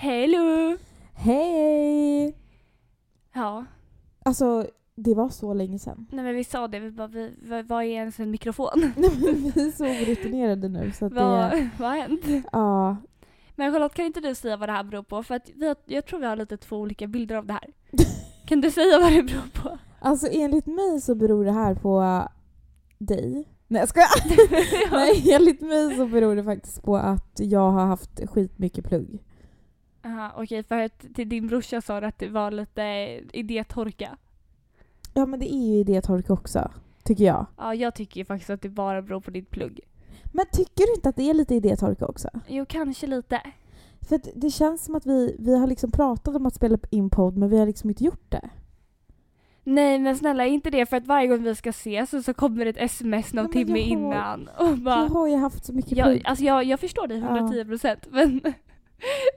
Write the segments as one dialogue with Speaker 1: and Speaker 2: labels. Speaker 1: Hello!
Speaker 2: Hej!
Speaker 1: Ja,
Speaker 2: Alltså, det var så länge sedan.
Speaker 1: nej men vi sa det, vi bara, vi, vad, vad är ens en mikrofon?
Speaker 2: Nej, men vi är så orutinerade nu så att
Speaker 1: vad,
Speaker 2: det...
Speaker 1: vad har hänt?
Speaker 2: Ja.
Speaker 1: Men Charlotte, kan inte du säga vad det här beror på? För att vi, har- jag tror vi har lite två olika bilder av det här. Kan du säga vad det beror på?
Speaker 2: Alltså enligt mig så beror det här på äh, dig. Nej jag skojar! Nej, enligt mig så beror det faktiskt på att jag har haft skitmycket plugg.
Speaker 1: Aha, okej, för att till din brorsa sa du att det var lite idétorka.
Speaker 2: Ja men det är ju idétork också, tycker jag.
Speaker 1: Ja, jag tycker ju faktiskt att det bara beror på ditt plugg.
Speaker 2: Men tycker du inte att det är lite idétorka också?
Speaker 1: Jo, kanske lite.
Speaker 2: För att det känns som att vi, vi har liksom pratat om att spela in podd men vi har liksom inte gjort det.
Speaker 1: Nej men snälla inte det för att varje gång vi ska ses så, så kommer det ett sms någon
Speaker 2: Nej, men
Speaker 1: timme
Speaker 2: jag har-
Speaker 1: innan och
Speaker 2: Jag
Speaker 1: bara...
Speaker 2: har ju haft så mycket plugg.
Speaker 1: Jag, alltså jag, jag förstår dig
Speaker 2: Ja.
Speaker 1: 110 procent men,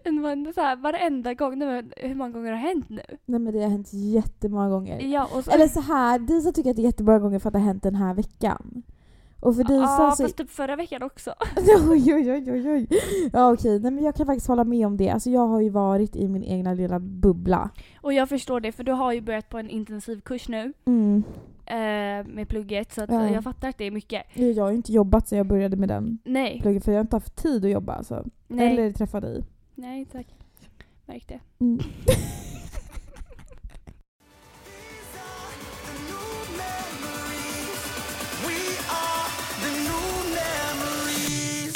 Speaker 1: men man, så här, varenda gång, nej, men hur många gånger har det hänt nu?
Speaker 2: Nej men det har hänt jättemånga gånger.
Speaker 1: Ja, och så,
Speaker 2: Eller så här, Disa tycker att det är jättemånga gånger för att det har hänt den här veckan. Och för Disa
Speaker 1: ja,
Speaker 2: så...
Speaker 1: fast typ förra veckan också.
Speaker 2: oj, oj, oj, oj, oj. Ja okej, nej men jag kan faktiskt hålla med om det. Alltså jag har ju varit i min egna lilla bubbla.
Speaker 1: Och jag förstår det för du har ju börjat på en intensivkurs nu
Speaker 2: Mm.
Speaker 1: eh, med plugget så att
Speaker 2: Ja.
Speaker 1: jag fattar att det är mycket.
Speaker 2: Ja, Jag har ju inte jobbat sedan jag började med den
Speaker 1: Nej,
Speaker 2: pluggen för jag har inte haft tid att jobba alltså.
Speaker 1: nej,
Speaker 2: Eller träffa dig.
Speaker 1: nej tack. Märkte.
Speaker 2: Mm.
Speaker 3: These are the new memories. We are the new memories.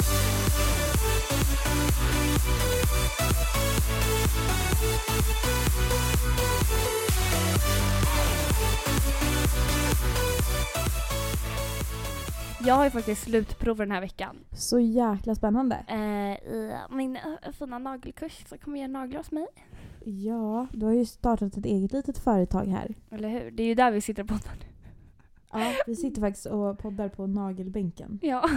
Speaker 1: Jag har ju faktiskt slutprov den här veckan.
Speaker 2: Så jäkla spännande.
Speaker 1: Eh, I min eh, fina nagelkurs så kommer jag göra naglar hos mig.
Speaker 2: Ja, du har ju startat ett eget litet företag här.
Speaker 1: Eller hur? Det är ju där vi sitter på poddar nu.
Speaker 2: Ja, vi sitter faktiskt och poddar på nagelbänken.
Speaker 1: Ja.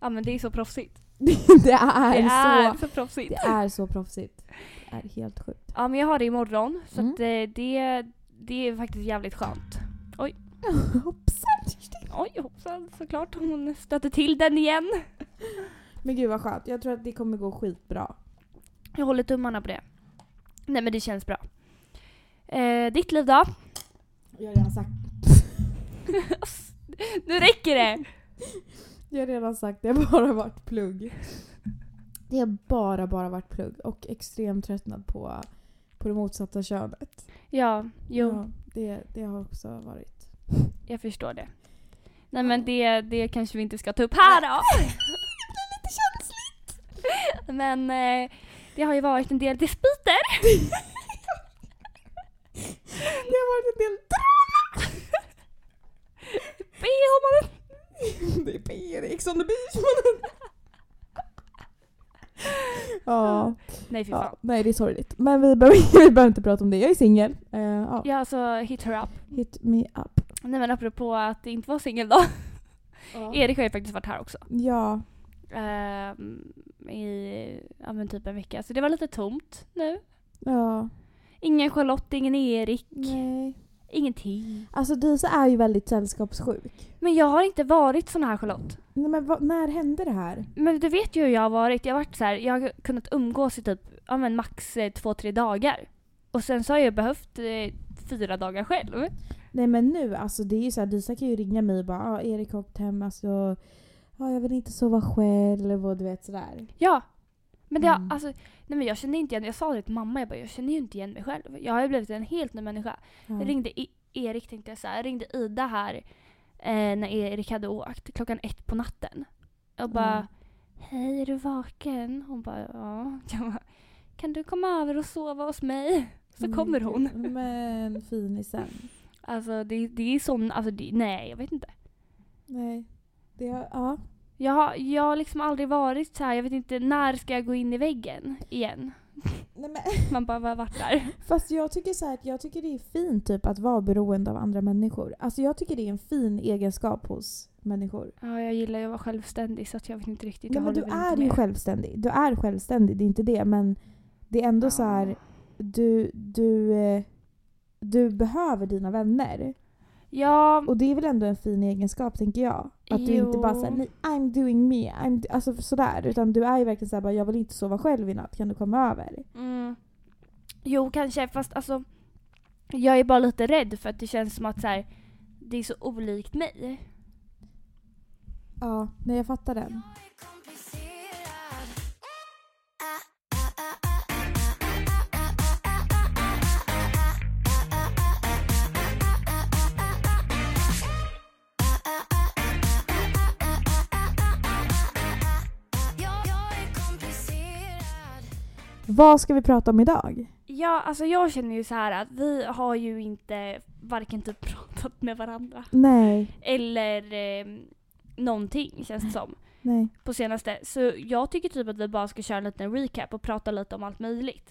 Speaker 1: Ja men det är så proffsigt.
Speaker 2: det är,
Speaker 1: det är
Speaker 2: så...
Speaker 1: så proffsigt.
Speaker 2: Det är så proffsigt. Det är helt sjukt.
Speaker 1: Ja men jag har det imorgon så
Speaker 2: Mm.
Speaker 1: att eh, det, det är faktiskt jävligt skönt.
Speaker 2: Hoppsan!
Speaker 1: Oj hoppsan såklart hon stötte till den igen.
Speaker 2: Men gud vad skönt. Jag tror att det kommer gå skitbra.
Speaker 1: Jag håller tummarna på det. Nej men det känns bra. Eh, ditt liv då?
Speaker 2: Jag har redan sagt,
Speaker 1: nu räcker det!
Speaker 2: jag har redan sagt det har bara varit plugg. Det har bara, bara varit plugg och extrem tröttnad på, på det motsatta könet.
Speaker 1: Ja, jo
Speaker 2: Ja, det, det har också varit.
Speaker 1: jag förstår det. Nej men det, det kanske vi inte ska ta upp här då.
Speaker 2: Lite känsligt!
Speaker 1: Men eh, det har ju varit en del dispyter.
Speaker 2: Det har varit en del drama!
Speaker 1: BH-mannen!
Speaker 2: Det är PR, Ex on the beach mannen. Ja,
Speaker 1: Nej fy fan.
Speaker 2: ja, nej det är sorgligt. Men vi behöver, vi behöver inte prata om det. Jag är singel. Eh, ja.
Speaker 1: Ja alltså hit her up.
Speaker 2: Hit me up.
Speaker 1: Nej men apropå att det inte var singel då. Erik har ju faktiskt varit här också.
Speaker 2: Ja,
Speaker 1: Ehm, I ja, men typ en vecka. Så det var lite tomt nu.
Speaker 2: ja,
Speaker 1: Ingen Charlotte, ingen Erik,
Speaker 2: nej.
Speaker 1: ingenting.
Speaker 2: Alltså Disa är ju väldigt sällskapssjuk.
Speaker 1: Men jag har inte varit sån här Charlotte.
Speaker 2: Nej, men vad, när hände det här?
Speaker 1: Men du vet ju hur jag har varit. Jag har varit så här, jag har kunnat umgås i typ ja, men max eh, två, tre dagar. Och sen så har jag behövt eh, fyra dagar själv.
Speaker 2: Nej men nu, alltså det är ju så här, Disa kan ju ringa mig och bara ah, “Erik har åkt hem, alltså, ah, jag vill inte sova själv” och du vet sådär.
Speaker 1: Ja. Men det har,
Speaker 2: Mm.
Speaker 1: alltså, nej men jag känner inte igen, jag sa det till mamma, jag bara, jag känner ju inte igen mig själv. Jag har ju blivit en helt ny människa.
Speaker 2: Ja.
Speaker 1: Jag ringde I- Erik tänkte jag så här, jag ringde Ida här eh, när Erik hade åkt klockan ett på natten. Och bara
Speaker 2: Mm.
Speaker 1: Hej, är du vaken? Hon bara ja. Jag bara, kan du komma över och sova hos mig? Så
Speaker 2: Men
Speaker 1: kommer hon.
Speaker 2: gud, Mm. Men finisen.
Speaker 1: Alltså det, det är sån, alltså det, nej jag vet inte.
Speaker 2: Nej. Det har, ja.
Speaker 1: Jag har, jag har liksom aldrig varit så här, jag vet inte när ska jag gå in i väggen igen?
Speaker 2: Nej, men,
Speaker 1: Man bara, vad vart där?
Speaker 2: fast jag tycker så här, att jag tycker det är fint typ att vara beroende av andra människor. Alltså jag tycker det är en fin egenskap hos människor.
Speaker 1: Ja, jag gillar ju att vara självständig så att jag vet inte riktigt.
Speaker 2: Nej,
Speaker 1: jag
Speaker 2: men du
Speaker 1: håller väl inte
Speaker 2: är ju
Speaker 1: med.
Speaker 2: självständig. Du är självständig, det är inte det. Men det är ändå
Speaker 1: Ja.
Speaker 2: så här, du, du, eh, du behöver dina vänner.
Speaker 1: Ja,
Speaker 2: Och det är väl ändå en fin egenskap tänker jag. Att du inte bara
Speaker 1: Jo.
Speaker 2: säger nej I'm doing me, I'm d-" alltså sådär. Utan du är ju verkligen såhär bara jag vill inte sova själv i natt, kan du komma över?
Speaker 1: mm. Jo, kanske. Fast alltså, jag är bara lite rädd för att det känns som att så här, det är så olikt mig.
Speaker 2: Ja, nej jag fattar den. Vad ska vi prata om idag?
Speaker 1: Ja, alltså jag känner ju så här att vi har ju inte varken typ pratat med varandra
Speaker 2: Nej,
Speaker 1: eller eh, någonting känns det som
Speaker 2: nej.
Speaker 1: på senaste. Så jag tycker typ att vi bara ska köra en liten recap och prata lite om allt möjligt.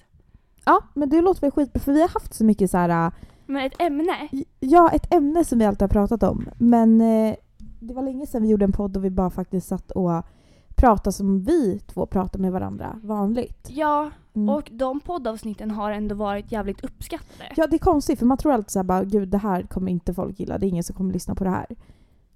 Speaker 2: Ja, men det låter väl skit för vi har haft så mycket så här.
Speaker 1: Men ett ämne?
Speaker 2: äh, ja ett ämne som vi alltid har pratat om men eh, det var länge sedan vi gjorde en podd och vi bara faktiskt satt och pratade som vi två pratar med varandra vanligt.
Speaker 1: Ja,
Speaker 2: Mm.
Speaker 1: och de poddavsnitten har ändå varit jävligt uppskattade.
Speaker 2: Ja, det är konstigt för man tror alltid såhär bara gud det här kommer inte folk gilla, det är ingen som kommer lyssna på det här.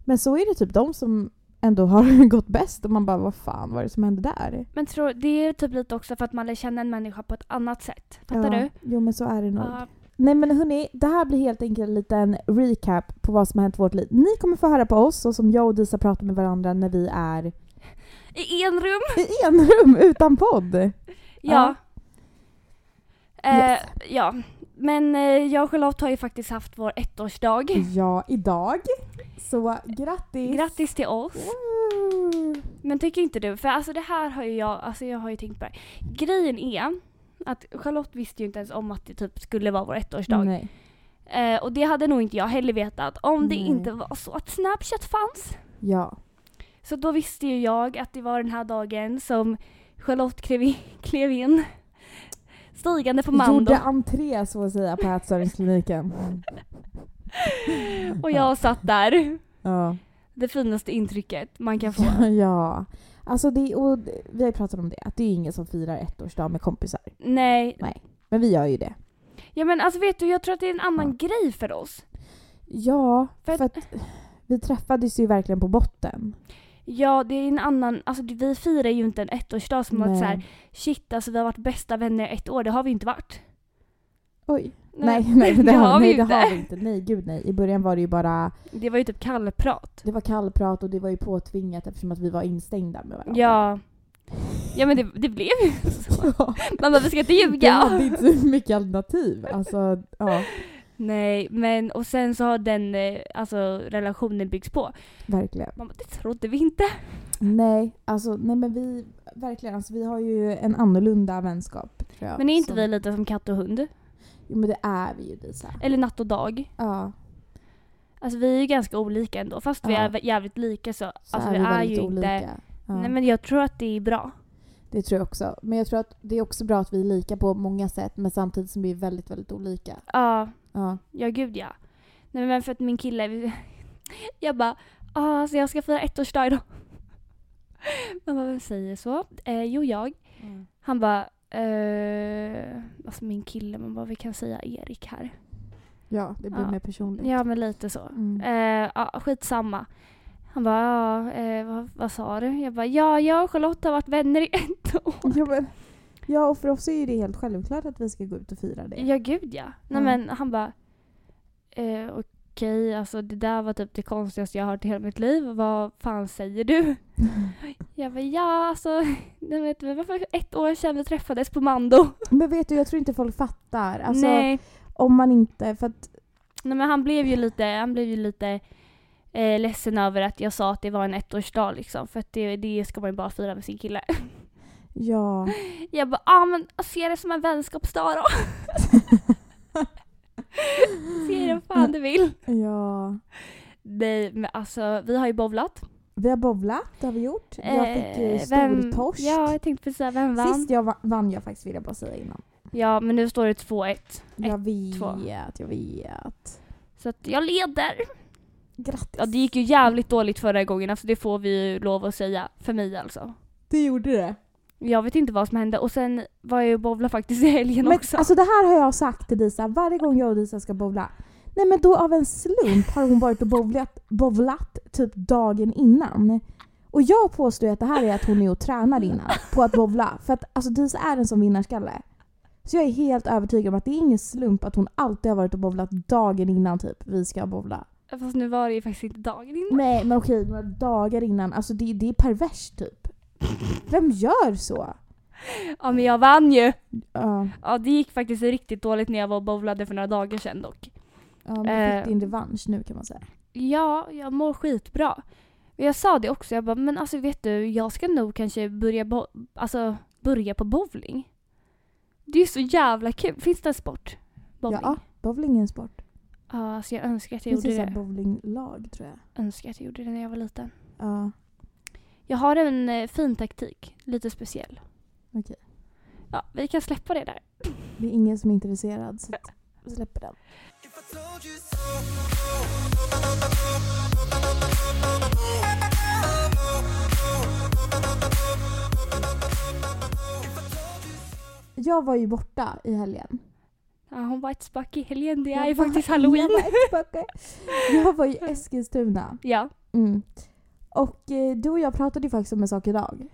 Speaker 2: Men så är det typ de som ändå har gått bäst och man bara vad fan var det som hände där?
Speaker 1: Men tror, det är typ lite också för att man lär känna en människa på ett annat sätt. Fattar
Speaker 2: ja.
Speaker 1: du?
Speaker 2: Jo men så är det nog.
Speaker 1: Ja.
Speaker 2: Nej men hörni, det här blir helt enkelt en liten recap på vad som har hänt i vårt liv. Ni kommer få höra på oss och som jag och Disa pratar med varandra när vi är
Speaker 1: I en rum?
Speaker 2: i enrum utan podd.
Speaker 1: Ja.
Speaker 2: Yes.
Speaker 1: Eh, ja. Men eh, jag och Charlotte har ju faktiskt haft vår ettårsdag.
Speaker 2: Ja, idag. Så grattis!
Speaker 1: Grattis till oss.
Speaker 2: Wow.
Speaker 1: Men tycker inte du? För alltså det här har ju jag, alltså jag har ju tänkt på det. här. Grejen är att Charlotte visste ju inte ens om att det typ skulle vara vår ettårsdag.
Speaker 2: Nej.
Speaker 1: Eh, och det hade nog inte jag heller vetat om det
Speaker 2: Nej.
Speaker 1: inte var så att Snapchat fanns.
Speaker 2: Ja.
Speaker 1: Så då visste ju jag att det var den här dagen som Charlotte klev in, klev in stigande på Mando
Speaker 2: Gjorde entré så att säga på ätstörningskliniken.
Speaker 1: och jag satt där.
Speaker 2: ja.
Speaker 1: Det finaste intrycket man kan få.
Speaker 2: ja. ja. Alltså det, och det- vi har ju pratat om det, att det är ingen som firar ettårsdag med kompisar.
Speaker 1: Nej,
Speaker 2: Men vi gör ju det.
Speaker 1: ja men alltså vet du jag tror att det är en annan grej för oss.
Speaker 2: Ja,
Speaker 1: För
Speaker 2: för,
Speaker 1: att-
Speaker 2: att vi träffades ju verkligen på botten.
Speaker 1: Ja det är en annan, alltså det- vi firar ju inte en ettårsdag som att
Speaker 2: Nej.
Speaker 1: så här, shit alltså vi har varit bästa vänner i ett år, det har vi inte varit.
Speaker 2: Oj. Nej, nej, det,
Speaker 1: det
Speaker 2: har,
Speaker 1: har vi
Speaker 2: nej,
Speaker 1: ju
Speaker 2: det
Speaker 1: inte.
Speaker 2: har vi inte. Nej, gud nej. I början var det ju bara
Speaker 1: Det var ju typ kallprat.
Speaker 2: det var kallprat och det var ju påtvingat eftersom att vi var instängda med varandra.
Speaker 1: Ja. Ja men det, det blev ju så.
Speaker 2: Ja.
Speaker 1: Mamma vi ska inte
Speaker 2: Vi
Speaker 1: ljuga.
Speaker 2: hade inte så mycket alternativ. Alltså, ja,
Speaker 1: Nej men och sen så har den eh, alltså, relationen byggts på.
Speaker 2: verkligen.
Speaker 1: Man bara, det trodde vi inte.
Speaker 2: Nej, alltså, nej men vi, verkligen, alltså, vi har ju en annorlunda vänskap. Tror jag,
Speaker 1: Men är inte
Speaker 2: som-
Speaker 1: vi lite som katt och hund?
Speaker 2: Jo men det är vi ju Lisa.
Speaker 1: Eller natt och dag.
Speaker 2: Ja,
Speaker 1: Alltså vi är ju ganska olika ändå fast vi
Speaker 2: Ja.
Speaker 1: är vä- jävligt lika så,
Speaker 2: så
Speaker 1: alltså,
Speaker 2: är
Speaker 1: vi
Speaker 2: vi,
Speaker 1: är
Speaker 2: väldigt
Speaker 1: ju
Speaker 2: olika.
Speaker 1: inte...
Speaker 2: Ja,
Speaker 1: Nej men jag tror att det är bra.
Speaker 2: Det tror jag också. Men jag tror att det är också bra att vi är lika på många sätt men samtidigt som vi är väldigt, väldigt olika.
Speaker 1: Ja,
Speaker 2: Ja.
Speaker 1: ja gud ja. Nej men för att min kille, jag bara ah, alltså jag ska fira ettårsdag idag. Man bara vem säger så? Eh, jo jag. Han bara eh, alltså min kille, man bara vi kan säga Erik här.
Speaker 2: Ja, det blir
Speaker 1: Ja.
Speaker 2: mer personligt.
Speaker 1: Ja men lite så.
Speaker 2: Mm.
Speaker 1: Eh, ja, skitsamma. Han bara, ja, eh, vad, vad sa du? Jag bara, ja, jag och Charlotte har varit vänner i ett år.
Speaker 2: Ja, men, ja, och för oss är ju det helt självklart att vi ska gå ut och fira det.
Speaker 1: Ja, gud ja. Nej
Speaker 2: Mm.
Speaker 1: men han bara, eh, okej, alltså det där var typ det konstigaste jag har hört i hela mitt liv. Vad fan säger du? Jag bara, ja alltså, nej, vet du, varför ett år sedan vi träffades på Mando?
Speaker 2: Men vet du, jag tror inte folk fattar. Alltså,
Speaker 1: nej.
Speaker 2: om man inte... För att,
Speaker 1: nej, men han blev ju lite, han blev ju lite eh, ledsen över att jag sa att det var en ettårsdag liksom. För att det, det ska man ju bara fira med sin kille.
Speaker 2: ja...
Speaker 1: Jag bara, ah, men se det som en vänskapsdag då. se det vad fan du vill.
Speaker 2: ja.
Speaker 1: Nej men alltså vi har ju bowlat.
Speaker 2: Vi har bowlat, det har vi gjort. Jag fick ju
Speaker 1: Eh,
Speaker 2: stor torsk.
Speaker 1: Ja jag tänkte precis säga, vem vann?
Speaker 2: Sist jag va- vann jag faktiskt, vill jag bara säga innan.
Speaker 1: Ja men nu står det 2-1.
Speaker 2: Jag vet,
Speaker 1: två.
Speaker 2: jag vet.
Speaker 1: Så att jag leder.
Speaker 2: Grattis.
Speaker 1: Ja det gick ju jävligt dåligt förra gången, alltså det får vi ju lov att säga. För mig alltså.
Speaker 2: Du gjorde det.
Speaker 1: Jag vet inte vad som hände och sen var jag ju och bowlade faktiskt i helgen
Speaker 2: Men
Speaker 1: också.
Speaker 2: alltså det här har jag sagt till Disa varje gång jag och Disa ska bowla. Nej men då av en slump har hon varit och bowlat, bowlat typ dagen innan. Och jag påstår ju att det här är att hon är och tränar innan på att bowla. För att alltså Dis är en sån vinnarskalle. Så jag är helt övertygad om att det är ingen slump att hon alltid har varit och bowlat dagen innan typ vi ska bowla.
Speaker 1: Fast nu var det ju faktiskt inte dagen innan.
Speaker 2: Nej alltså- men okej, några dagar innan. Alltså det, det är perverst typ. Vem gör så?
Speaker 1: Ja men jag vann ju!
Speaker 2: Ja,
Speaker 1: Ja det gick faktiskt riktigt dåligt när jag var och bowlade för några dagar sedan dock.
Speaker 2: ja men fick
Speaker 1: Eh.
Speaker 2: din revansch nu kan man säga.
Speaker 1: Ja, jag mår skitbra. Men Jag sa det också, jag bara men alltså vet du, jag ska nog kanske börja, bo- alltså, börja på bowling. Det är ju så jävla kul. Finns det en sport? Bowling?
Speaker 2: Ja, bowling är en sport.
Speaker 1: Ja, alltså jag önskar att
Speaker 2: Det
Speaker 1: jag
Speaker 2: finns
Speaker 1: gjorde
Speaker 2: ett
Speaker 1: det.
Speaker 2: bowlinglag tror jag.
Speaker 1: önskar att jag gjorde det när jag var liten.
Speaker 2: Ja,
Speaker 1: Jag har en eh, fin taktik, lite speciell.
Speaker 2: Okej.
Speaker 1: Ja, vi kan släppa det där.
Speaker 2: det är ingen som är intresserad så att vi släpper den.
Speaker 3: If I told you so.
Speaker 2: Jag var ju borta i helgen.
Speaker 1: Ja, hon var ett spack i helgen, det är
Speaker 2: Jag
Speaker 1: ju
Speaker 2: var-
Speaker 1: faktiskt halloween.
Speaker 2: Jag var, tillbaka. jag var i Eskilstuna.
Speaker 1: Ja.
Speaker 2: Mm. Och eh, du och jag pratade ju faktiskt om en sak idag.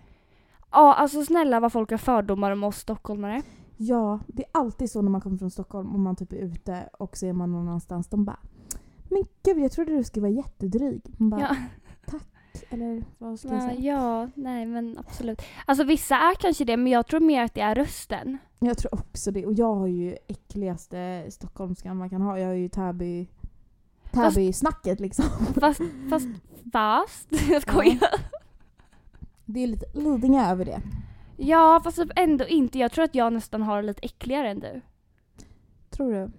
Speaker 1: ja, alltså snälla vad folk har fördomar om oss stockholmare.
Speaker 2: Ja, det är alltid så när man kommer från Stockholm och man typ är ute och så är man någon annanstans. De bara Men gud, jag trodde du skulle vara jättedryg. Man bara,
Speaker 1: Ja.
Speaker 2: Eller vad ska jag
Speaker 1: Ja,
Speaker 2: säga?
Speaker 1: ja, nej men absolut. Alltså vissa är kanske det, men jag tror mer att det är rösten.
Speaker 2: Jag tror också det. Och jag har ju äckligaste stockholmskan man kan ha. Jag har ju Täby...
Speaker 1: Fast-
Speaker 2: Täby-snacket liksom.
Speaker 1: Fast, fast, fast. Jag skojar.
Speaker 2: Det är lite Lidingö över det.
Speaker 1: Ja, fast typ ändå inte. Jag tror att jag nästan har lite äckligare än du.
Speaker 2: Tror du?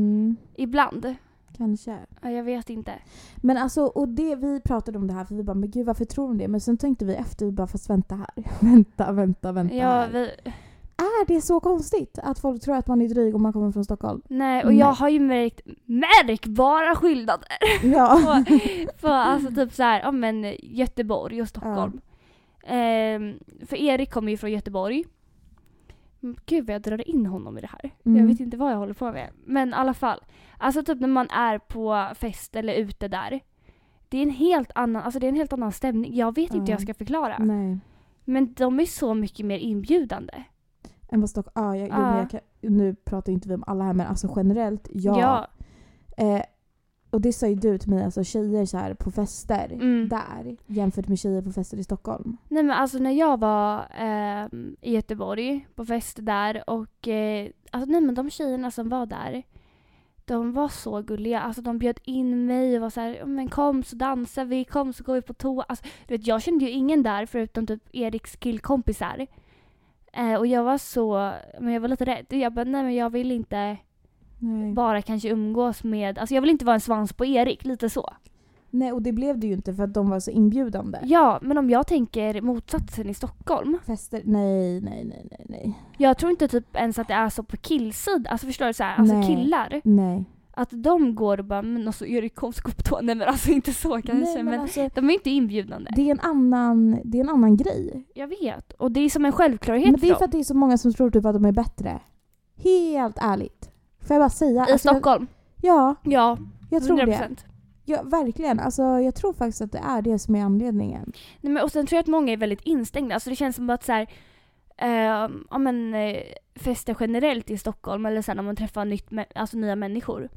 Speaker 2: Mm,
Speaker 1: Ibland.
Speaker 2: kanske.
Speaker 1: Ja, jag vet inte.
Speaker 2: Men alltså, och det, vi pratade om det här för vi bara, men gud varför tror hon det? Men sen tänkte vi efter, vi bara, fast vänta här. vänta, vänta, vänta
Speaker 1: Ja,
Speaker 2: här.
Speaker 1: vi,
Speaker 2: Är det så konstigt att folk tror att man är dryg om man kommer från Stockholm?
Speaker 1: nej, och
Speaker 2: Nej.
Speaker 1: jag har ju märkt märkbara skillnader.
Speaker 2: Ja.
Speaker 1: på, på alltså typ så här, ja men Göteborg och Stockholm. Ehm, för Erik kommer ju från Göteborg. Mm, Gud vad jag drar in honom i det här. Jag
Speaker 2: Mm.
Speaker 1: vet inte vad jag håller på med. Men i alla fall. Alltså typ när man är på fest eller ute där. Det är en helt annan, alltså det är en helt annan stämning. Jag vet inte hur jag
Speaker 2: Ja.
Speaker 1: ska förklara.
Speaker 2: Nej.
Speaker 1: Men de är så mycket mer inbjudande.
Speaker 2: Än vad Stockholm... Ja, jag, jo, men
Speaker 1: Ja.
Speaker 2: jag kan, nu pratar inte vi om alla här men alltså generellt, ja.
Speaker 1: ja.
Speaker 2: Eh, och det sa ju du till mig, alltså tjejer så här på fester
Speaker 1: Mm.
Speaker 2: där jämfört med tjejer på fester i Stockholm.
Speaker 1: Nej men alltså när jag var ehm, i Göteborg på fest där och eh, alltså, nej, men de tjejerna som var där de var så gulliga. Alltså de bjöd in mig och var så här, "Ja, men kom så dansar vi, kom så går vi på toa. Alltså, du vet, jag kände ju ingen där förutom typ Eriks killkompisar. Eh, och jag var så, men jag var lite rädd. Jag bara, nej men jag vill inte
Speaker 2: Nej.
Speaker 1: bara kanske umgås med, alltså jag vill inte vara en svans på Erik, lite så.
Speaker 2: Nej och det blev det ju inte för att de var så inbjudande.
Speaker 1: Ja, men om jag tänker motsatsen i Stockholm
Speaker 2: Fester, nej, nej, nej, nej, nej.
Speaker 1: Jag tror inte typ ens att det är så på killsida, alltså förstår du så här, alltså
Speaker 2: Nej.
Speaker 1: killar.
Speaker 2: Nej.
Speaker 1: Att de går och bara men alltså Erik kom så gå på toa. Nej men alltså inte så kanske
Speaker 2: nej,
Speaker 1: men,
Speaker 2: alltså,
Speaker 1: de är inte inbjudande.
Speaker 2: det, är en annan, det är en annan grej.
Speaker 1: Jag vet och det är som en självklarhet
Speaker 2: Men det är
Speaker 1: för
Speaker 2: för
Speaker 1: dem.
Speaker 2: att det är så många som tror typ att de är bättre. Helt ärligt. Får jag bara säga?
Speaker 1: I
Speaker 2: Alltså, jag-
Speaker 1: Stockholm.
Speaker 2: Ja,
Speaker 1: Ja,
Speaker 2: jag tror det.
Speaker 1: 100%.
Speaker 2: Ja, verkligen. Alltså, jag tror faktiskt att det är det som är anledningen.
Speaker 1: Nej, men, och sen tror jag att många är väldigt instängda. Alltså det känns som att så här, eh, ja, men, eh, fester generellt i Stockholm eller sen om man träffar nytt, mä- alltså, nya människor.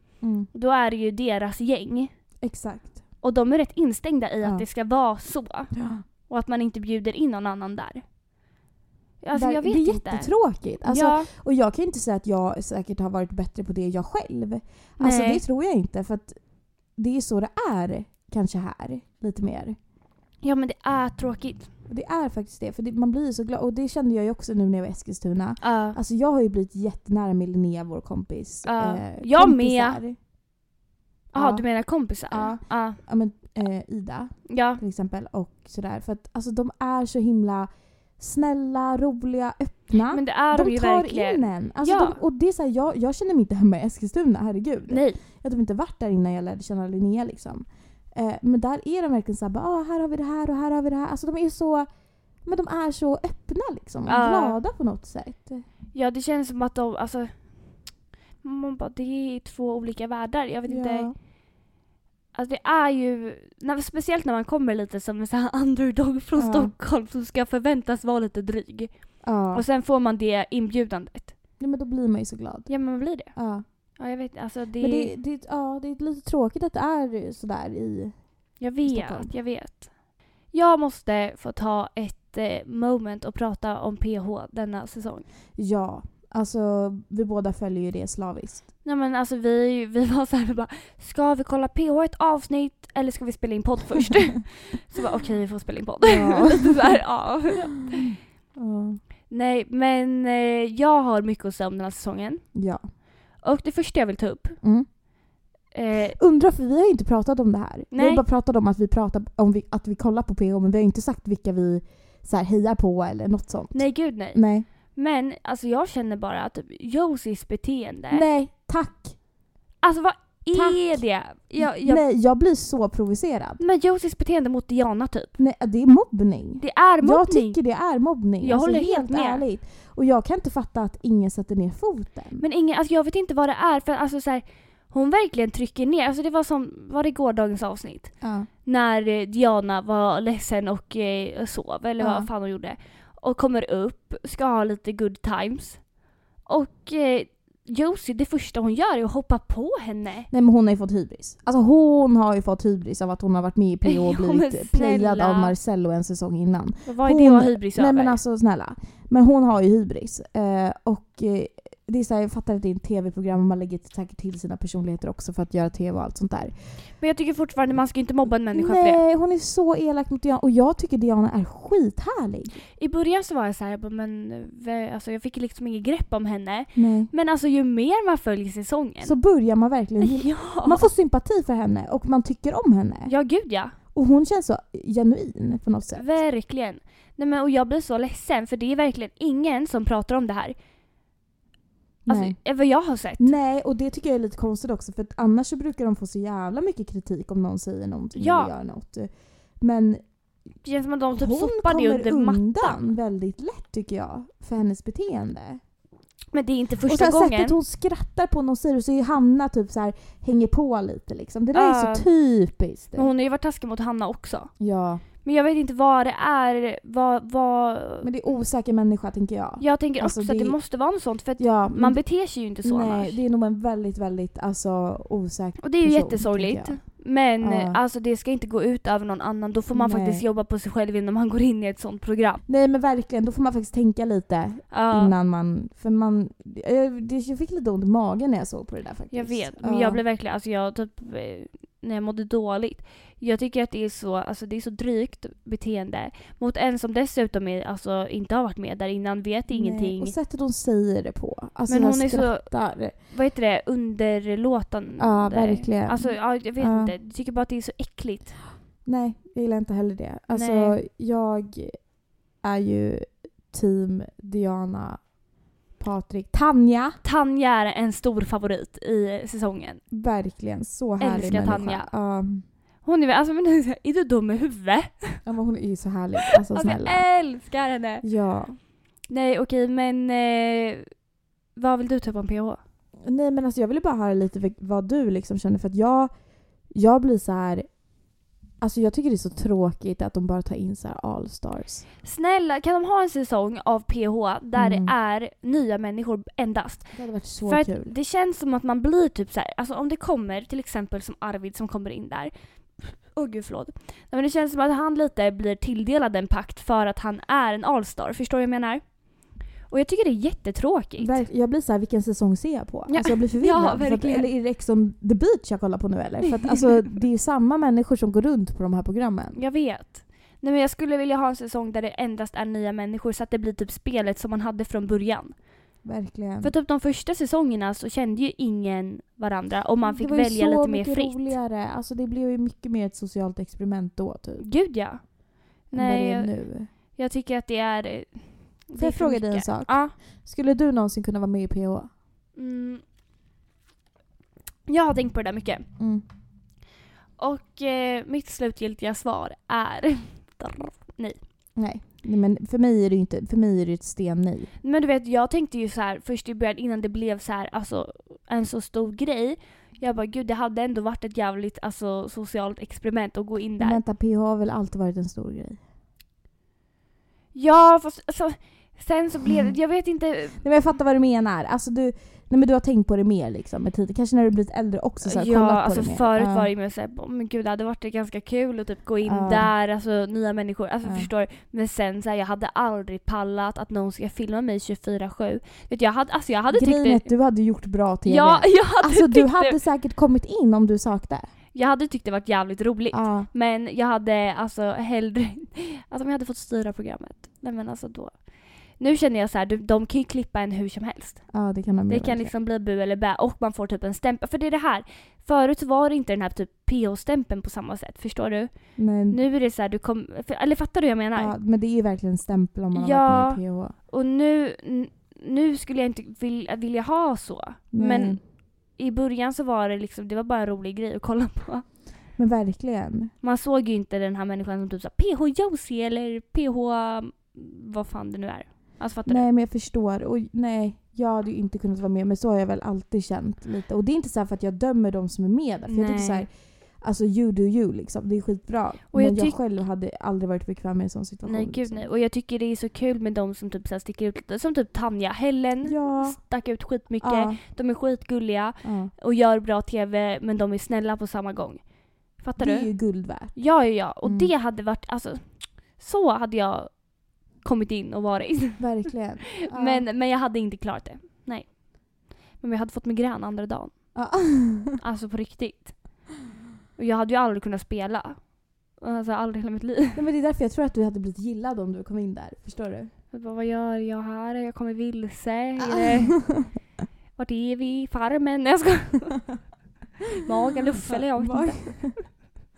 Speaker 1: Då är det ju deras gäng.
Speaker 2: Mm, Exakt.
Speaker 1: Och de är rätt instängda i
Speaker 2: Ja.
Speaker 1: att det ska vara så. Och att man inte bjuder in någon annan där. Alltså
Speaker 2: Där-
Speaker 1: jag vet
Speaker 2: det är
Speaker 1: inte.
Speaker 2: jättetråkigt. Alltså,
Speaker 1: ja,
Speaker 2: Och jag kan ju inte säga att jag säkert har varit bättre på det jag själv. Alltså
Speaker 1: Nej.
Speaker 2: det tror jag inte för att det är så det är kanske här lite mer.
Speaker 1: ja men det är tråkigt.
Speaker 2: Och Det är faktiskt det för det, man blir ju så glad och det kände jag ju också nu när jag var i Eskilstuna.
Speaker 1: Ja.
Speaker 2: Alltså jag har ju blivit jättenära med Linnea, vår kompis. eh,
Speaker 1: Ja. Jag med.
Speaker 2: kompisar.
Speaker 1: Jaha,
Speaker 2: ja.
Speaker 1: du menar kompisar?
Speaker 2: Ja.
Speaker 1: Ja.
Speaker 2: Ja, men, eh, Ida
Speaker 1: Ja.
Speaker 2: till exempel och sådär. För att alltså, de är så himla snälla, roliga, öppna.
Speaker 1: Men det är de,
Speaker 2: de
Speaker 1: ju
Speaker 2: tar
Speaker 1: verkligen.
Speaker 2: in en. Alltså,
Speaker 1: Ja.
Speaker 2: de, och det är så här, jag, jag känner mig inte hemma i Eskilstuna, herregud.
Speaker 1: Nej.
Speaker 2: Jag har typ inte varit där innan jag lärde känna Linnea liksom. Eh, men där är de verkligen såhär, ah, här har vi det här och här har vi det här. Alltså de är så, men de är så öppna liksom. och
Speaker 1: Ja.
Speaker 2: Glada på något sätt.
Speaker 1: Ja det känns som att de, alltså Man bara, det är två olika världar. Jag vet inte.
Speaker 2: Ja.
Speaker 1: Alltså det är ju, när, speciellt när man kommer lite som en sån här underdog från
Speaker 2: Ja.
Speaker 1: Stockholm som ska förväntas vara lite dryg.
Speaker 2: ja.
Speaker 1: Och sen får man det inbjudandet.
Speaker 2: Nej, men då blir man ju så glad.
Speaker 1: Ja men man blir det.
Speaker 2: Ja.
Speaker 1: Ja jag vet, alltså det,
Speaker 2: Men det, det, ja, det är lite tråkigt att det är sådär i...
Speaker 1: jag
Speaker 2: Stockholm.
Speaker 1: vet, jag vet. Jag måste få ta ett eh, moment och prata om PH denna säsong.
Speaker 2: Ja, alltså vi båda följer ju det slaviskt.
Speaker 1: Nej men alltså vi, vi var såhär, vi bara ska vi kolla PH ett avsnitt eller ska vi spela in podd först? så bara okej vi får spela in podd.
Speaker 2: Ja.
Speaker 1: Lite så här, ja.
Speaker 2: Ja.
Speaker 1: Nej men eh, jag har mycket att säga om den här säsongen.
Speaker 2: Ja.
Speaker 1: Och det första jag vill ta upp,
Speaker 2: Mm.
Speaker 1: eh,
Speaker 2: Undrar, för vi har ju inte pratat om det här. Vi har
Speaker 1: Nej.
Speaker 2: bara pratat om att vi, pratar, om vi, att vi kollar på PH men vi har ju inte sagt vilka vi så här, hejar på eller något sånt.
Speaker 1: nej gud nej.
Speaker 2: Nej.
Speaker 1: Men alltså jag känner bara att typ, Josies beteende,
Speaker 2: Nej, tack.
Speaker 1: alltså vad är
Speaker 2: Tack.
Speaker 1: det? Jag, jag,
Speaker 2: Nej, jag blir så provocerad.
Speaker 1: men Josies beteende mot Diana typ.
Speaker 2: Nej, det är mobbning.
Speaker 1: Det är mobbning.
Speaker 2: Jag tycker det är mobbning. Alltså,
Speaker 1: Jag håller helt med.
Speaker 2: ärligt. Och jag kan inte fatta att ingen sätter ner foten.
Speaker 1: Men ingen, alltså jag vet inte vad det är för alltså så här, hon verkligen trycker ner. Alltså det var som, var det gårdagens avsnitt?
Speaker 2: Ja.
Speaker 1: När eh, Diana var ledsen och eh, sov eller
Speaker 2: Ja.
Speaker 1: vad fan hon gjorde. Och kommer upp, ska ha lite good times. Och eh, Josie, det första hon gör är att hoppa på henne.
Speaker 2: Nej men hon har ju fått hybris. Alltså hon har ju fått hybris av att hon har varit med i PH och
Speaker 1: Ja, men
Speaker 2: blivit playad
Speaker 1: snälla.
Speaker 2: av Marcello en säsong innan.
Speaker 1: Och Vad är det att ha
Speaker 2: Hon-
Speaker 1: hybris
Speaker 2: Nej
Speaker 1: över?
Speaker 2: men alltså snälla. Men hon har ju hybris. Eh, och eh, det är så här, jag fattar att det är ett tv-program och man lägger säkert till sina personligheter också för att göra tv och allt sånt där.
Speaker 1: Men jag tycker fortfarande man ska inte mobba en människa för det.
Speaker 2: Nej hon är så elak mot Diana och jag tycker Diana är skithärlig.
Speaker 1: I början så var jag så här, jag bara, men eh, alltså, jag fick liksom inget grepp om henne.
Speaker 2: Nej.
Speaker 1: Men alltså ju mer man följer säsongen.
Speaker 2: Så börjar man verkligen
Speaker 1: ja.
Speaker 2: Man får sympati för henne och man tycker om henne.
Speaker 1: ja, gud ja.
Speaker 2: Och hon känns så genuin på något sätt.
Speaker 1: Verkligen. Nej, men, och jag blir så ledsen för det är verkligen ingen som pratar om det här. Alltså,
Speaker 2: Nej.
Speaker 1: eh, vad jag har sett.
Speaker 2: Nej, och det tycker jag är lite konstigt också för att annars så brukar de få så jävla mycket kritik om någon säger någonting
Speaker 1: Ja.
Speaker 2: eller gör något. Men
Speaker 1: Det känns som att de typ
Speaker 2: hon
Speaker 1: sopar det under
Speaker 2: kommer
Speaker 1: mattan.
Speaker 2: undan väldigt lätt tycker jag för hennes beteende.
Speaker 1: Men det är inte
Speaker 2: och
Speaker 1: första
Speaker 2: sen
Speaker 1: gången.
Speaker 2: sättet hon skrattar på någon säger och så är Hanna typ så här hänger på lite liksom. Det där är
Speaker 1: Ja.
Speaker 2: så typiskt.
Speaker 1: Men hon har ju varit taskig mot Hanna också.
Speaker 2: Ja,
Speaker 1: Men jag vet inte vad det är. Vad, vad...
Speaker 2: men det är osäker människa tänker jag.
Speaker 1: Jag tänker
Speaker 2: Alltså,
Speaker 1: också att
Speaker 2: det-
Speaker 1: det måste vara något sånt för att
Speaker 2: Ja, men
Speaker 1: man beter sig ju inte så
Speaker 2: Nej,
Speaker 1: annars.
Speaker 2: det är nog en väldigt, väldigt alltså, osäker
Speaker 1: Och det är ju
Speaker 2: person,
Speaker 1: jättesorgligt.
Speaker 2: tänker
Speaker 1: Men
Speaker 2: Ja.
Speaker 1: eh, alltså det ska inte gå ut över någon annan. Då får man
Speaker 2: Nej.
Speaker 1: faktiskt jobba på sig själv innan man går in i ett sånt program.
Speaker 2: Nej men verkligen, då får man faktiskt tänka lite
Speaker 1: Ja,
Speaker 2: innan man... För man... eh, det- Jag fick lite ont i magen när jag såg på det där faktiskt.
Speaker 1: jag vet. Men
Speaker 2: Ja.
Speaker 1: jag blev verkligen, alltså jag typ, eh, när jag mådde dåligt. Jag tycker att det är så, alltså det är så drygt beteende mot en som dessutom är, alltså, inte har varit med där innan, vet ingenting.
Speaker 2: Nej, och sättet hon säger det på. Alltså
Speaker 1: Men
Speaker 2: jag
Speaker 1: hon är så-
Speaker 2: skrattar.
Speaker 1: Vad heter det? Underlåtande.
Speaker 2: Ja, verkligen.
Speaker 1: Alltså ja, jag vet
Speaker 2: Ja.
Speaker 1: inte. Jag tycker bara att det är så äckligt.
Speaker 2: Nej, jag gillar inte heller det. Alltså
Speaker 1: Nej.
Speaker 2: jag är ju team Diana, Patrik, Tanja.
Speaker 1: Tanja är en stor favorit i säsongen.
Speaker 2: Verkligen så härlig
Speaker 1: Älskar
Speaker 2: människa.
Speaker 1: Tanja.
Speaker 2: Ja.
Speaker 1: Hon är väl, alltså men är du dum i huvudet?
Speaker 2: Ja, men hon är ju så härlig. Alltså
Speaker 1: Alltså, jag
Speaker 2: snälla.
Speaker 1: älskar henne!
Speaker 2: Ja.
Speaker 1: Nej okej men eh, vad vill du ta upp om PH?
Speaker 2: Nej men alltså jag ville bara höra lite vil- vad du liksom känner för att jag, jag blir så här. Alltså jag tycker det är så tråkigt att de bara tar in så här allstars.
Speaker 1: Snälla kan de ha en säsong av PH där
Speaker 2: Mm.
Speaker 1: det är nya människor endast?
Speaker 2: Det hade varit så
Speaker 1: För att
Speaker 2: kul.
Speaker 1: det känns som att man blir typ så här, alltså om det kommer till exempel som Arvid som kommer in där. Åh gud förlåt. Nej, men det känns som att han lite blir tilldelad en pakt för att han är en allstar, förstår du vad jag menar? Och jag tycker det är jättetråkigt.
Speaker 2: Verk- Jag blir så här, vilken säsong ser jag på?
Speaker 1: Ja.
Speaker 2: Alltså jag blir förvirrad.
Speaker 1: Ja,
Speaker 2: för att,
Speaker 1: verkligen.
Speaker 2: eller är det Ex on the beach jag kollar på nu eller? För att alltså det är ju samma människor som går runt på de här programmen.
Speaker 1: Jag vet. Nej men jag skulle vilja ha en säsong där det endast är nya människor så att det blir typ spelet som man hade från början.
Speaker 2: Verkligen.
Speaker 1: För typ de första säsongerna så kände ju ingen varandra och man fick
Speaker 2: Mm, det var ju
Speaker 1: välja
Speaker 2: så
Speaker 1: lite mer
Speaker 2: mycket
Speaker 1: fritt.
Speaker 2: roligare. Alltså det blev ju mycket mer ett socialt experiment då typ.
Speaker 1: Gud ja. Nej,
Speaker 2: än vad
Speaker 1: jag,
Speaker 2: det är nu.
Speaker 1: jag tycker att det är... Det
Speaker 2: Får jag fråga dig en sak?
Speaker 1: Ja.
Speaker 2: Skulle du någonsin kunna vara med i PH?
Speaker 1: Mm. Jag har tänkt på det där mycket.
Speaker 2: Mm.
Speaker 1: Och eh, mitt slutgiltiga svar är...
Speaker 2: Nej. Nej, men för mig är det ju inte, för mig är det ju ett sten nej.
Speaker 1: Men du vet, jag tänkte ju så här först i början innan det blev så här, alltså en så stor grej. Jag bara gud det hade ändå varit ett jävligt alltså, socialt experiment att gå in där.
Speaker 2: Men vänta, PH har väl alltid varit en stor grej?
Speaker 1: Ja fast alltså, sen så blev det, jag vet inte.
Speaker 2: Nej men jag fattar vad du menar. Alltså du, nej men du har tänkt på det mer liksom med tiden. Kanske när du blivit äldre också så här,
Speaker 1: ja
Speaker 2: kollat på
Speaker 1: alltså
Speaker 2: det mer.
Speaker 1: förut
Speaker 2: Ja.
Speaker 1: var det ju mer såhär, men gud det hade varit ganska kul att typ gå in
Speaker 2: Ja.
Speaker 1: där, alltså nya människor, alltså
Speaker 2: Ja.
Speaker 1: förstår du? Men sen såhär jag hade aldrig pallat att någon ska filma mig 24-7. Vet du, jag hade, alltså jag hade
Speaker 2: Grejen är
Speaker 1: tyckt
Speaker 2: att
Speaker 1: det...
Speaker 2: du hade gjort bra TV.
Speaker 1: Ja, jag hade,
Speaker 2: alltså du
Speaker 1: tyckt
Speaker 2: hade
Speaker 1: det,
Speaker 2: säkert kommit in om du sökte.
Speaker 1: jag hade tyckt det varit jävligt roligt.
Speaker 2: Ja.
Speaker 1: Men jag hade alltså hellre... Alltså om jag hade fått styra programmet. Nej men alltså då. Nu känner jag så här, du, de kan ju klippa en hur som helst.
Speaker 2: ja, det kan de ju
Speaker 1: Det kan
Speaker 2: verkligen.
Speaker 1: liksom bli bu eller bä och man får typ en stämpel. För det är det här. Förut var det inte den här typ PH-stämpeln på samma sätt, förstår du?
Speaker 2: Men,
Speaker 1: Nu är det så här, du kom, för, eller fattar du hur jag menar?
Speaker 2: Mm. ja, men det är ju verkligen en stämpel om man har
Speaker 1: Ja.
Speaker 2: varit med i PH.
Speaker 1: Och nu, n- nu skulle jag inte vilja, vilja ha så.
Speaker 2: Nej.
Speaker 1: Men i början så var det liksom, det var bara en rolig grej att kolla på.
Speaker 2: Men verkligen.
Speaker 1: Man såg ju inte den här människan som typ sa PH Josie eller PH vad fan det nu är. Alltså fattar
Speaker 2: Nej men jag förstår. Och nej, jag hade ju inte kunnat vara med men så har jag väl alltid känt lite. Och det är inte så här för att jag dömer de som är med där. För jag tycker
Speaker 1: Nej.
Speaker 2: så här, alltså you do you liksom. Det är skitbra.
Speaker 1: Och jag
Speaker 2: men jag,
Speaker 1: tyck-
Speaker 2: själv hade aldrig varit bekväm med en sån
Speaker 1: du?
Speaker 2: situation.
Speaker 1: Nej gud
Speaker 2: liksom.
Speaker 1: nej. Och jag tycker det är så kul med de som typ så här sticker ut lite. Som typ Tanja, Helen
Speaker 2: Ja.
Speaker 1: stack ut skitmycket.
Speaker 2: Ja,
Speaker 1: De är skitgulliga
Speaker 2: ja.
Speaker 1: och gör bra TV men de är snälla på samma gång. Fattar
Speaker 2: Det
Speaker 1: du?
Speaker 2: är ju guld värt.
Speaker 1: Ja, ja, ja. Och
Speaker 2: Mm.
Speaker 1: det hade varit, alltså så hade jag kommit in och varit.
Speaker 2: Verkligen. Ja.
Speaker 1: Men, men jag hade inte klarat det. Nej. Men jag hade fått migrän andra dagen.
Speaker 2: Ja.
Speaker 1: Alltså på riktigt. Och jag hade ju aldrig kunnat spela. Alltså aldrig i hela mitt liv.
Speaker 2: Nej, men det är därför jag tror att du hade blivit gillad om du kom in där. Förstår du?
Speaker 1: Jag bara, vad gör jag här? Jag kommer vilse. Eller, Vart är vi? Farmen? Nej, Jag ska... Magen, luff eller jag vet inte.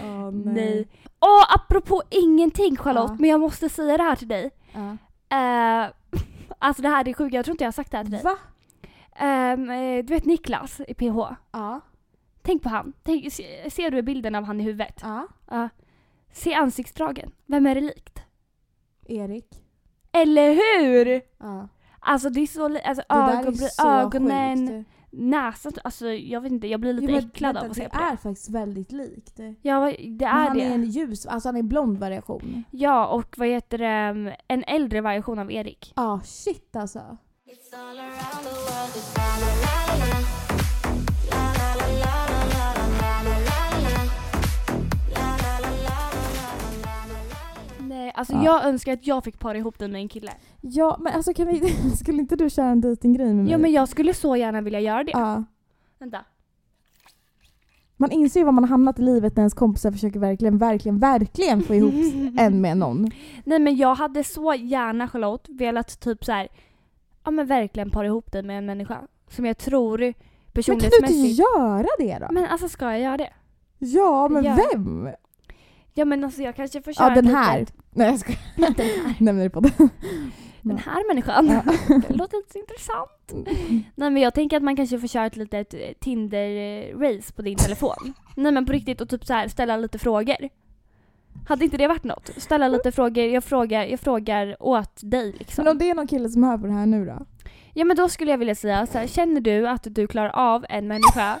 Speaker 2: Åh, nej.
Speaker 1: Nej. Åh, apropå ingenting Charlotte,
Speaker 2: eh, Ja.
Speaker 1: men jag måste säga det här till dig.
Speaker 2: Ja.
Speaker 1: Eh, alltså det här är sjukt, jag tror inte jag har sagt det här till dig.
Speaker 2: Va?
Speaker 1: Ehm, eh, du vet Niklas i PH?
Speaker 2: Ja.
Speaker 1: Tänk på han. Tänk, se- ser du bilden av han i huvudet?
Speaker 2: ja.
Speaker 1: Ja. se ansiktsdragen. Vem är det likt?
Speaker 2: Erik.
Speaker 1: Eller hur?
Speaker 2: Ja.
Speaker 1: Alltså det är så li- alltså,
Speaker 2: Det där är
Speaker 1: ögonbry-
Speaker 2: så
Speaker 1: ögonen,
Speaker 2: sjukt.
Speaker 1: näsan. Alltså jag vet inte, jag blir lite
Speaker 2: Jo, men
Speaker 1: äcklad
Speaker 2: vänta,
Speaker 1: av att se
Speaker 2: det
Speaker 1: på
Speaker 2: är
Speaker 1: det.
Speaker 2: faktiskt väldigt likt. Men
Speaker 1: Ja, det är
Speaker 2: han
Speaker 1: det.
Speaker 2: är en ljus, alltså han är en blond variation.
Speaker 1: Ja, och vad heter det? mm, En äldre version av Erik.
Speaker 2: Ja, ah, shit alltså.
Speaker 4: It's all around the world. It's la la la la la la la la la la la la la la la
Speaker 1: Nej, alltså
Speaker 2: Ja.
Speaker 1: jag önskar att jag fick para ihop dig med en kille.
Speaker 2: Ja, men alltså kan vi, skulle inte du köra en dejtinggrej med mig?
Speaker 1: Ja, men jag skulle så gärna vilja göra det.
Speaker 2: Mm. Ja.
Speaker 1: Vänta.
Speaker 2: Man inser ju var man har hamnat i livet när ens kompisar försöker verkligen, verkligen, verkligen få ihop en med någon.
Speaker 1: Nej men jag hade så gärna Charlotte velat typ så här, ja men verkligen para ihop dig med en människa som jag tror
Speaker 2: Men kan du
Speaker 1: personlighetsmässigt.
Speaker 2: inte göra det då?
Speaker 1: Men alltså ska jag göra det?
Speaker 2: Ja, men
Speaker 1: Ja.
Speaker 2: vem?
Speaker 1: Ja men alltså jag kanske får köra
Speaker 2: Ja, den
Speaker 1: ett
Speaker 2: här.
Speaker 1: litet-
Speaker 2: Nej jag skojar.
Speaker 1: Den här.
Speaker 2: Nämner det på det.
Speaker 1: Den här människan.
Speaker 2: Ja. Mm.
Speaker 1: Det låter inte så intressant. Nej men jag tänker att man kanske får köra ett litet eh, Tinder-race på din telefon. Nej men på riktigt och typ så här ställa lite frågor. Hade inte det varit något? Ställa lite frågor, jag frågar, jag frågar åt dig liksom.
Speaker 2: Men om det är någon kille som hör på det här nu då?
Speaker 1: Ja men då skulle jag vilja säga så här, känner du att du klarar av en människa,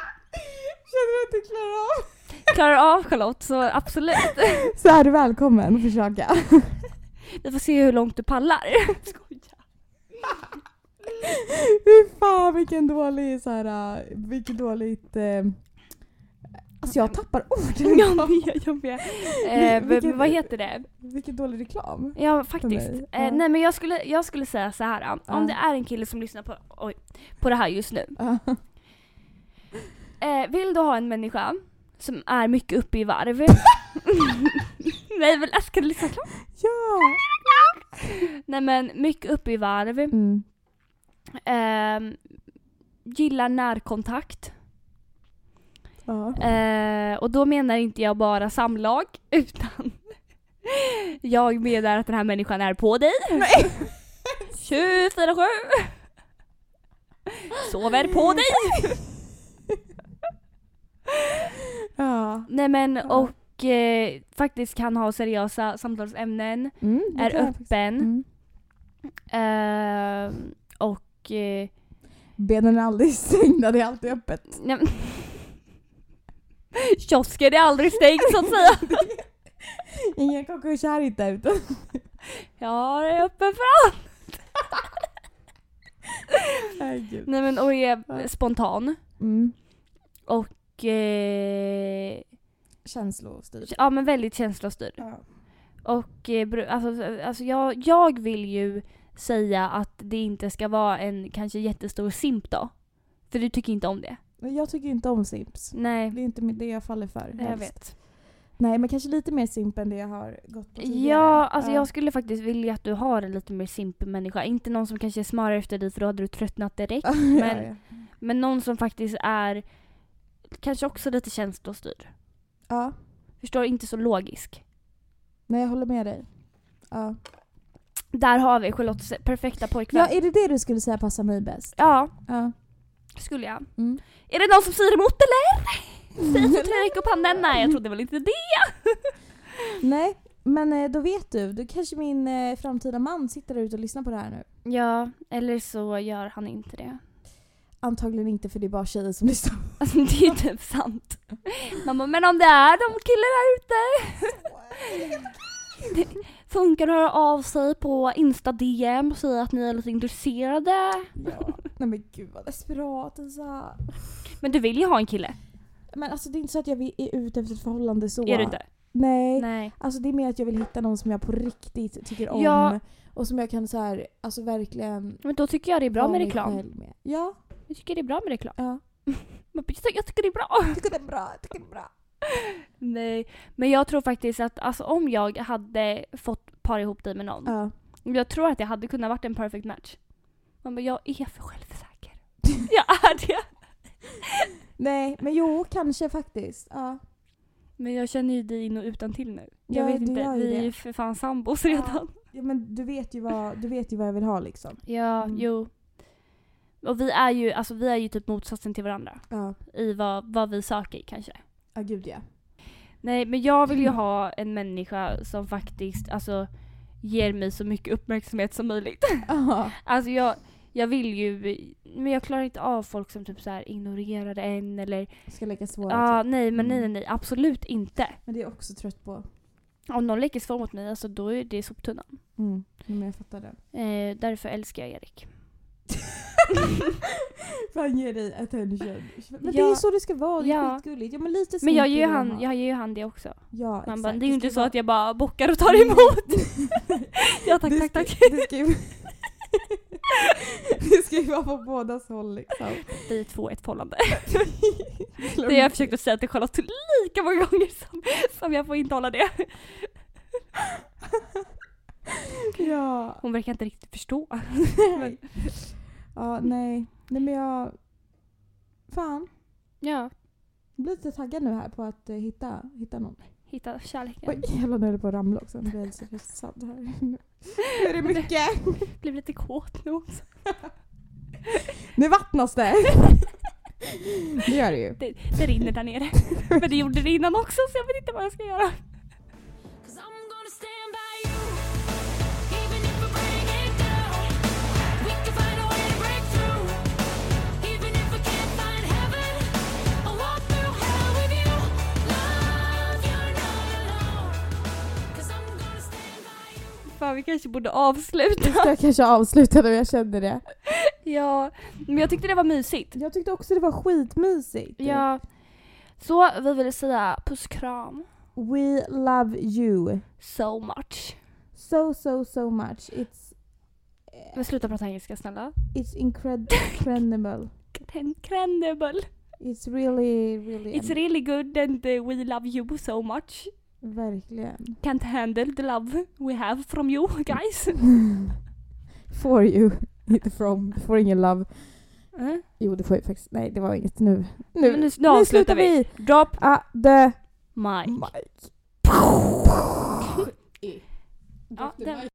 Speaker 2: Känner du att du klarar av?
Speaker 1: klarar av Charlotte så absolut.
Speaker 2: Så är du välkommen att försöka.
Speaker 1: Vi får se hur långt du pallar. Skoja.
Speaker 2: Fy fan vilken dålig så här, äh, vilket dåligt... Eh, alltså jag tappar ord.
Speaker 1: Jag med, jag med. Eh, v-
Speaker 2: Vilken-
Speaker 1: vad heter det?
Speaker 2: Vilken dålig reklam.
Speaker 1: Ja faktiskt.
Speaker 2: mig, ja.
Speaker 1: Eh, nej men jag skulle, jag skulle säga så här. um, om
Speaker 2: Ja.
Speaker 1: det är en kille som lyssnar på, oj, på det här just nu.
Speaker 2: Ja.
Speaker 1: Eh, vill du ha en människa som är mycket uppe i varv? nej men jag ska lyssna klart.
Speaker 2: ja.
Speaker 1: Nej men mycket uppe i varv.
Speaker 2: Mm.
Speaker 1: Ehm, gillar närkontakt.
Speaker 2: ja.
Speaker 1: Eh, och då menar inte jag bara samlag, utan jag menar att den här människan är på dig. 24-7. Sover på dig.
Speaker 2: ja.
Speaker 1: Nej men
Speaker 2: Ja.
Speaker 1: och eh, faktiskt kan ha seriösa samtalsämnen,
Speaker 2: Mm, det Mm.
Speaker 1: är
Speaker 2: kan jag faktiskt-
Speaker 1: öppen
Speaker 2: Mm.
Speaker 1: ehm, och eh,
Speaker 2: Benen är aldrig stängda, det är alltid öppet.
Speaker 1: Nej, men- Kiosken är aldrig stängd så att säga.
Speaker 2: Ingen konkurs här inte. Utan
Speaker 1: Ja, det är öppen för allt.
Speaker 2: Herregud.
Speaker 1: Nej men och är
Speaker 2: Ja.
Speaker 1: spontan.
Speaker 2: Mm.
Speaker 1: Och eh,
Speaker 2: Känslostyrd.
Speaker 1: ja men väldigt känslostyrd.
Speaker 2: Ja.
Speaker 1: Och eh, bru- alltså, alltså jag, jag vill ju säga att det inte ska vara en kanske jättestor simp då. För du tycker inte om det.
Speaker 2: Men Jag tycker inte om simps.
Speaker 1: Nej,
Speaker 2: Det är inte det jag faller för.
Speaker 1: jag
Speaker 2: helst.
Speaker 1: vet.
Speaker 2: Nej, men kanske lite mer simp än det jag har gått på tidigare.
Speaker 1: Ja, alltså jag skulle faktiskt vilja att du har en lite mer simpel människa. Inte någon som kanske smörar efter dig för då hade du tröttnat direkt. men-
Speaker 2: ja, ja.
Speaker 1: Men någon som faktiskt är kanske också lite känslostyrd.
Speaker 2: ja.
Speaker 1: Förstår? Inte så logisk.
Speaker 2: Nej, jag håller med dig. Ja.
Speaker 1: Där har vi Charlottes perfekta pojkvän.
Speaker 2: ja,
Speaker 1: Ja,
Speaker 2: är det det du skulle säga passar mig bäst? Ja.
Speaker 1: skulle jag.
Speaker 2: Mm.
Speaker 1: Är det någon som säger emot eller? Säg så räck upp handen. Nej, jag trodde väl inte det.
Speaker 2: Nej, men eh, då vet du. Då kanske min eh, framtida man sitter där ute och lyssnar på det här nu.
Speaker 1: Ja, eller så gör han inte det.
Speaker 2: Antagligen inte för det är bara tjejer som lyssnar.
Speaker 1: Alltså det är ju typ sant. Man bara, men om det är de killar där ute. Det funkar att höra av sig på Insta DM och säga att ni är lite intresserade.
Speaker 2: Ja. Nej men gud vad desperat Isa.
Speaker 1: Men du vill ju ha en kille,
Speaker 2: Men alltså det är inte så att jag vill- är ute efter ett förhållande så.
Speaker 1: är du inte?
Speaker 2: Nej.
Speaker 1: Nej.
Speaker 2: Alltså det är mer att jag vill hitta någon som jag på riktigt tycker om.
Speaker 1: Ja.
Speaker 2: Och som jag kan så här, alltså verkligen...
Speaker 1: Men då tycker jag det är bra
Speaker 2: vara
Speaker 1: med
Speaker 2: mig
Speaker 1: reklam.
Speaker 2: själv med. Ja,
Speaker 1: Jag tycker det är bra med reklam.
Speaker 2: ja.
Speaker 1: Man bara, Jag tycker- jag tycker det är bra.
Speaker 2: Jag tycker det är bra, jag tycker det är bra.
Speaker 1: Nej, men jag tror faktiskt att alltså, om jag hade fått para ihop dig med någon.
Speaker 2: Ja.
Speaker 1: Jag tror att jag hade kunnat varit en perfect match. Man bara, jag är för självsäker. jag är det.
Speaker 2: Nej, men jo kanske faktiskt. Ja.
Speaker 1: Men jag känner ju dig in och utan till nu. Jag
Speaker 2: Ja,
Speaker 1: vet
Speaker 2: du
Speaker 1: inte,
Speaker 2: gör ju
Speaker 1: vi är
Speaker 2: det.
Speaker 1: ju för fan sambos
Speaker 2: Ja.
Speaker 1: redan.
Speaker 2: ja men du vet, ju vad, du vet ju vad jag vill ha liksom.
Speaker 1: Ja,
Speaker 2: Mm.
Speaker 1: jo. Och vi är ju, alltså, vi är ju typ motsatsen till varandra
Speaker 2: Ja,
Speaker 1: i vad, vad vi söker kanske.
Speaker 2: ja gud ja.
Speaker 1: Nej, men jag vill ju ha en människa som faktiskt alltså, ger mig så mycket uppmärksamhet som möjligt.
Speaker 2: Ja.
Speaker 1: Alltså jag, jag vill ju, men jag klarar inte av folk som typ så här ignorerar en eller
Speaker 2: Ska leka svåra
Speaker 1: Ja,
Speaker 2: typ.
Speaker 1: nej men nej nej
Speaker 2: Mm.
Speaker 1: nej, absolut inte.
Speaker 2: Men det är jag också trött på.
Speaker 1: Om någon leker svår mot mig, alltså då är det soptunnan.
Speaker 2: Mm. Men jag fattar det.
Speaker 1: Eh, därför älskar jag Erik.
Speaker 2: Fan ge dig attention. Men det
Speaker 1: Ja.
Speaker 2: är så det ska vara, det är
Speaker 1: Ja.
Speaker 2: skitgulligt. Ja men lite
Speaker 1: Men jag
Speaker 2: smink
Speaker 1: ger ju
Speaker 2: vill
Speaker 1: han,
Speaker 2: ha.
Speaker 1: jag ger ju han det också.
Speaker 2: Ja,
Speaker 1: Man
Speaker 2: exakt.
Speaker 1: bara, det är
Speaker 2: ska
Speaker 1: ju inte så
Speaker 2: vara-
Speaker 1: att jag bara bockar och tar emot. ja tack
Speaker 2: det
Speaker 1: tack
Speaker 2: ska-
Speaker 1: tack.
Speaker 2: Det ska, ju... det ska ju vara på bådas håll liksom.
Speaker 1: Vi är två i ett förhållande. Det har jag försökt att säga till Charlotte lika många gånger som, som jag får intala det.
Speaker 2: Ja.
Speaker 1: Hon verkar inte riktigt förstå.
Speaker 2: Nej. ja, nej. Nej men jag... Fan.
Speaker 1: Ja,
Speaker 2: Jag blir lite taggad nu här på att eh, hitta, hitta någon.
Speaker 1: hitta kärleken.
Speaker 2: Oj, jävlar nu höll jag på att ramla också. Nu blir jag så stressad här. Nu är det mycket.
Speaker 1: Blev lite kåt nu också.
Speaker 2: Nu vattnas det. Det gör det ju.
Speaker 1: Det, det rinner där nere. Men det gjorde det innan också så jag vet inte vad jag ska göra.
Speaker 4: Cause I'm gonna stand by you. Even if we're bringing down, we can find a way to break through. Even if we can't find heaven, I'll walk through hell with you. Love, you're not alone. Cause I'm gonna stand by you.
Speaker 1: Fan vi kanske borde avsluta.
Speaker 2: Jag kanske avslutade och jag kände det.
Speaker 1: Ja, men jag tyckte det var mysigt.
Speaker 2: Jag tyckte också det var skitmysigt.
Speaker 1: Ja. Så vi ville säga puss kram
Speaker 2: We love you.
Speaker 1: so much.
Speaker 2: So so so much. It's
Speaker 1: Men sluta prata engelska snälla.
Speaker 2: it's incred- incredible.
Speaker 1: Incredible.
Speaker 2: It's really really
Speaker 1: It's really good and uh, we love you so much.
Speaker 2: verkligen.
Speaker 1: Can't handle the love we have from you guys.
Speaker 2: For you. Inte from. For ingen love.
Speaker 1: Mm.
Speaker 2: Jo det får jag faktiskt. Nej det var inget nu.
Speaker 1: Nu, nu, nu avslutar vi. Drop
Speaker 2: Ah, the
Speaker 1: mic.
Speaker 2: mic.
Speaker 1: Ja, den-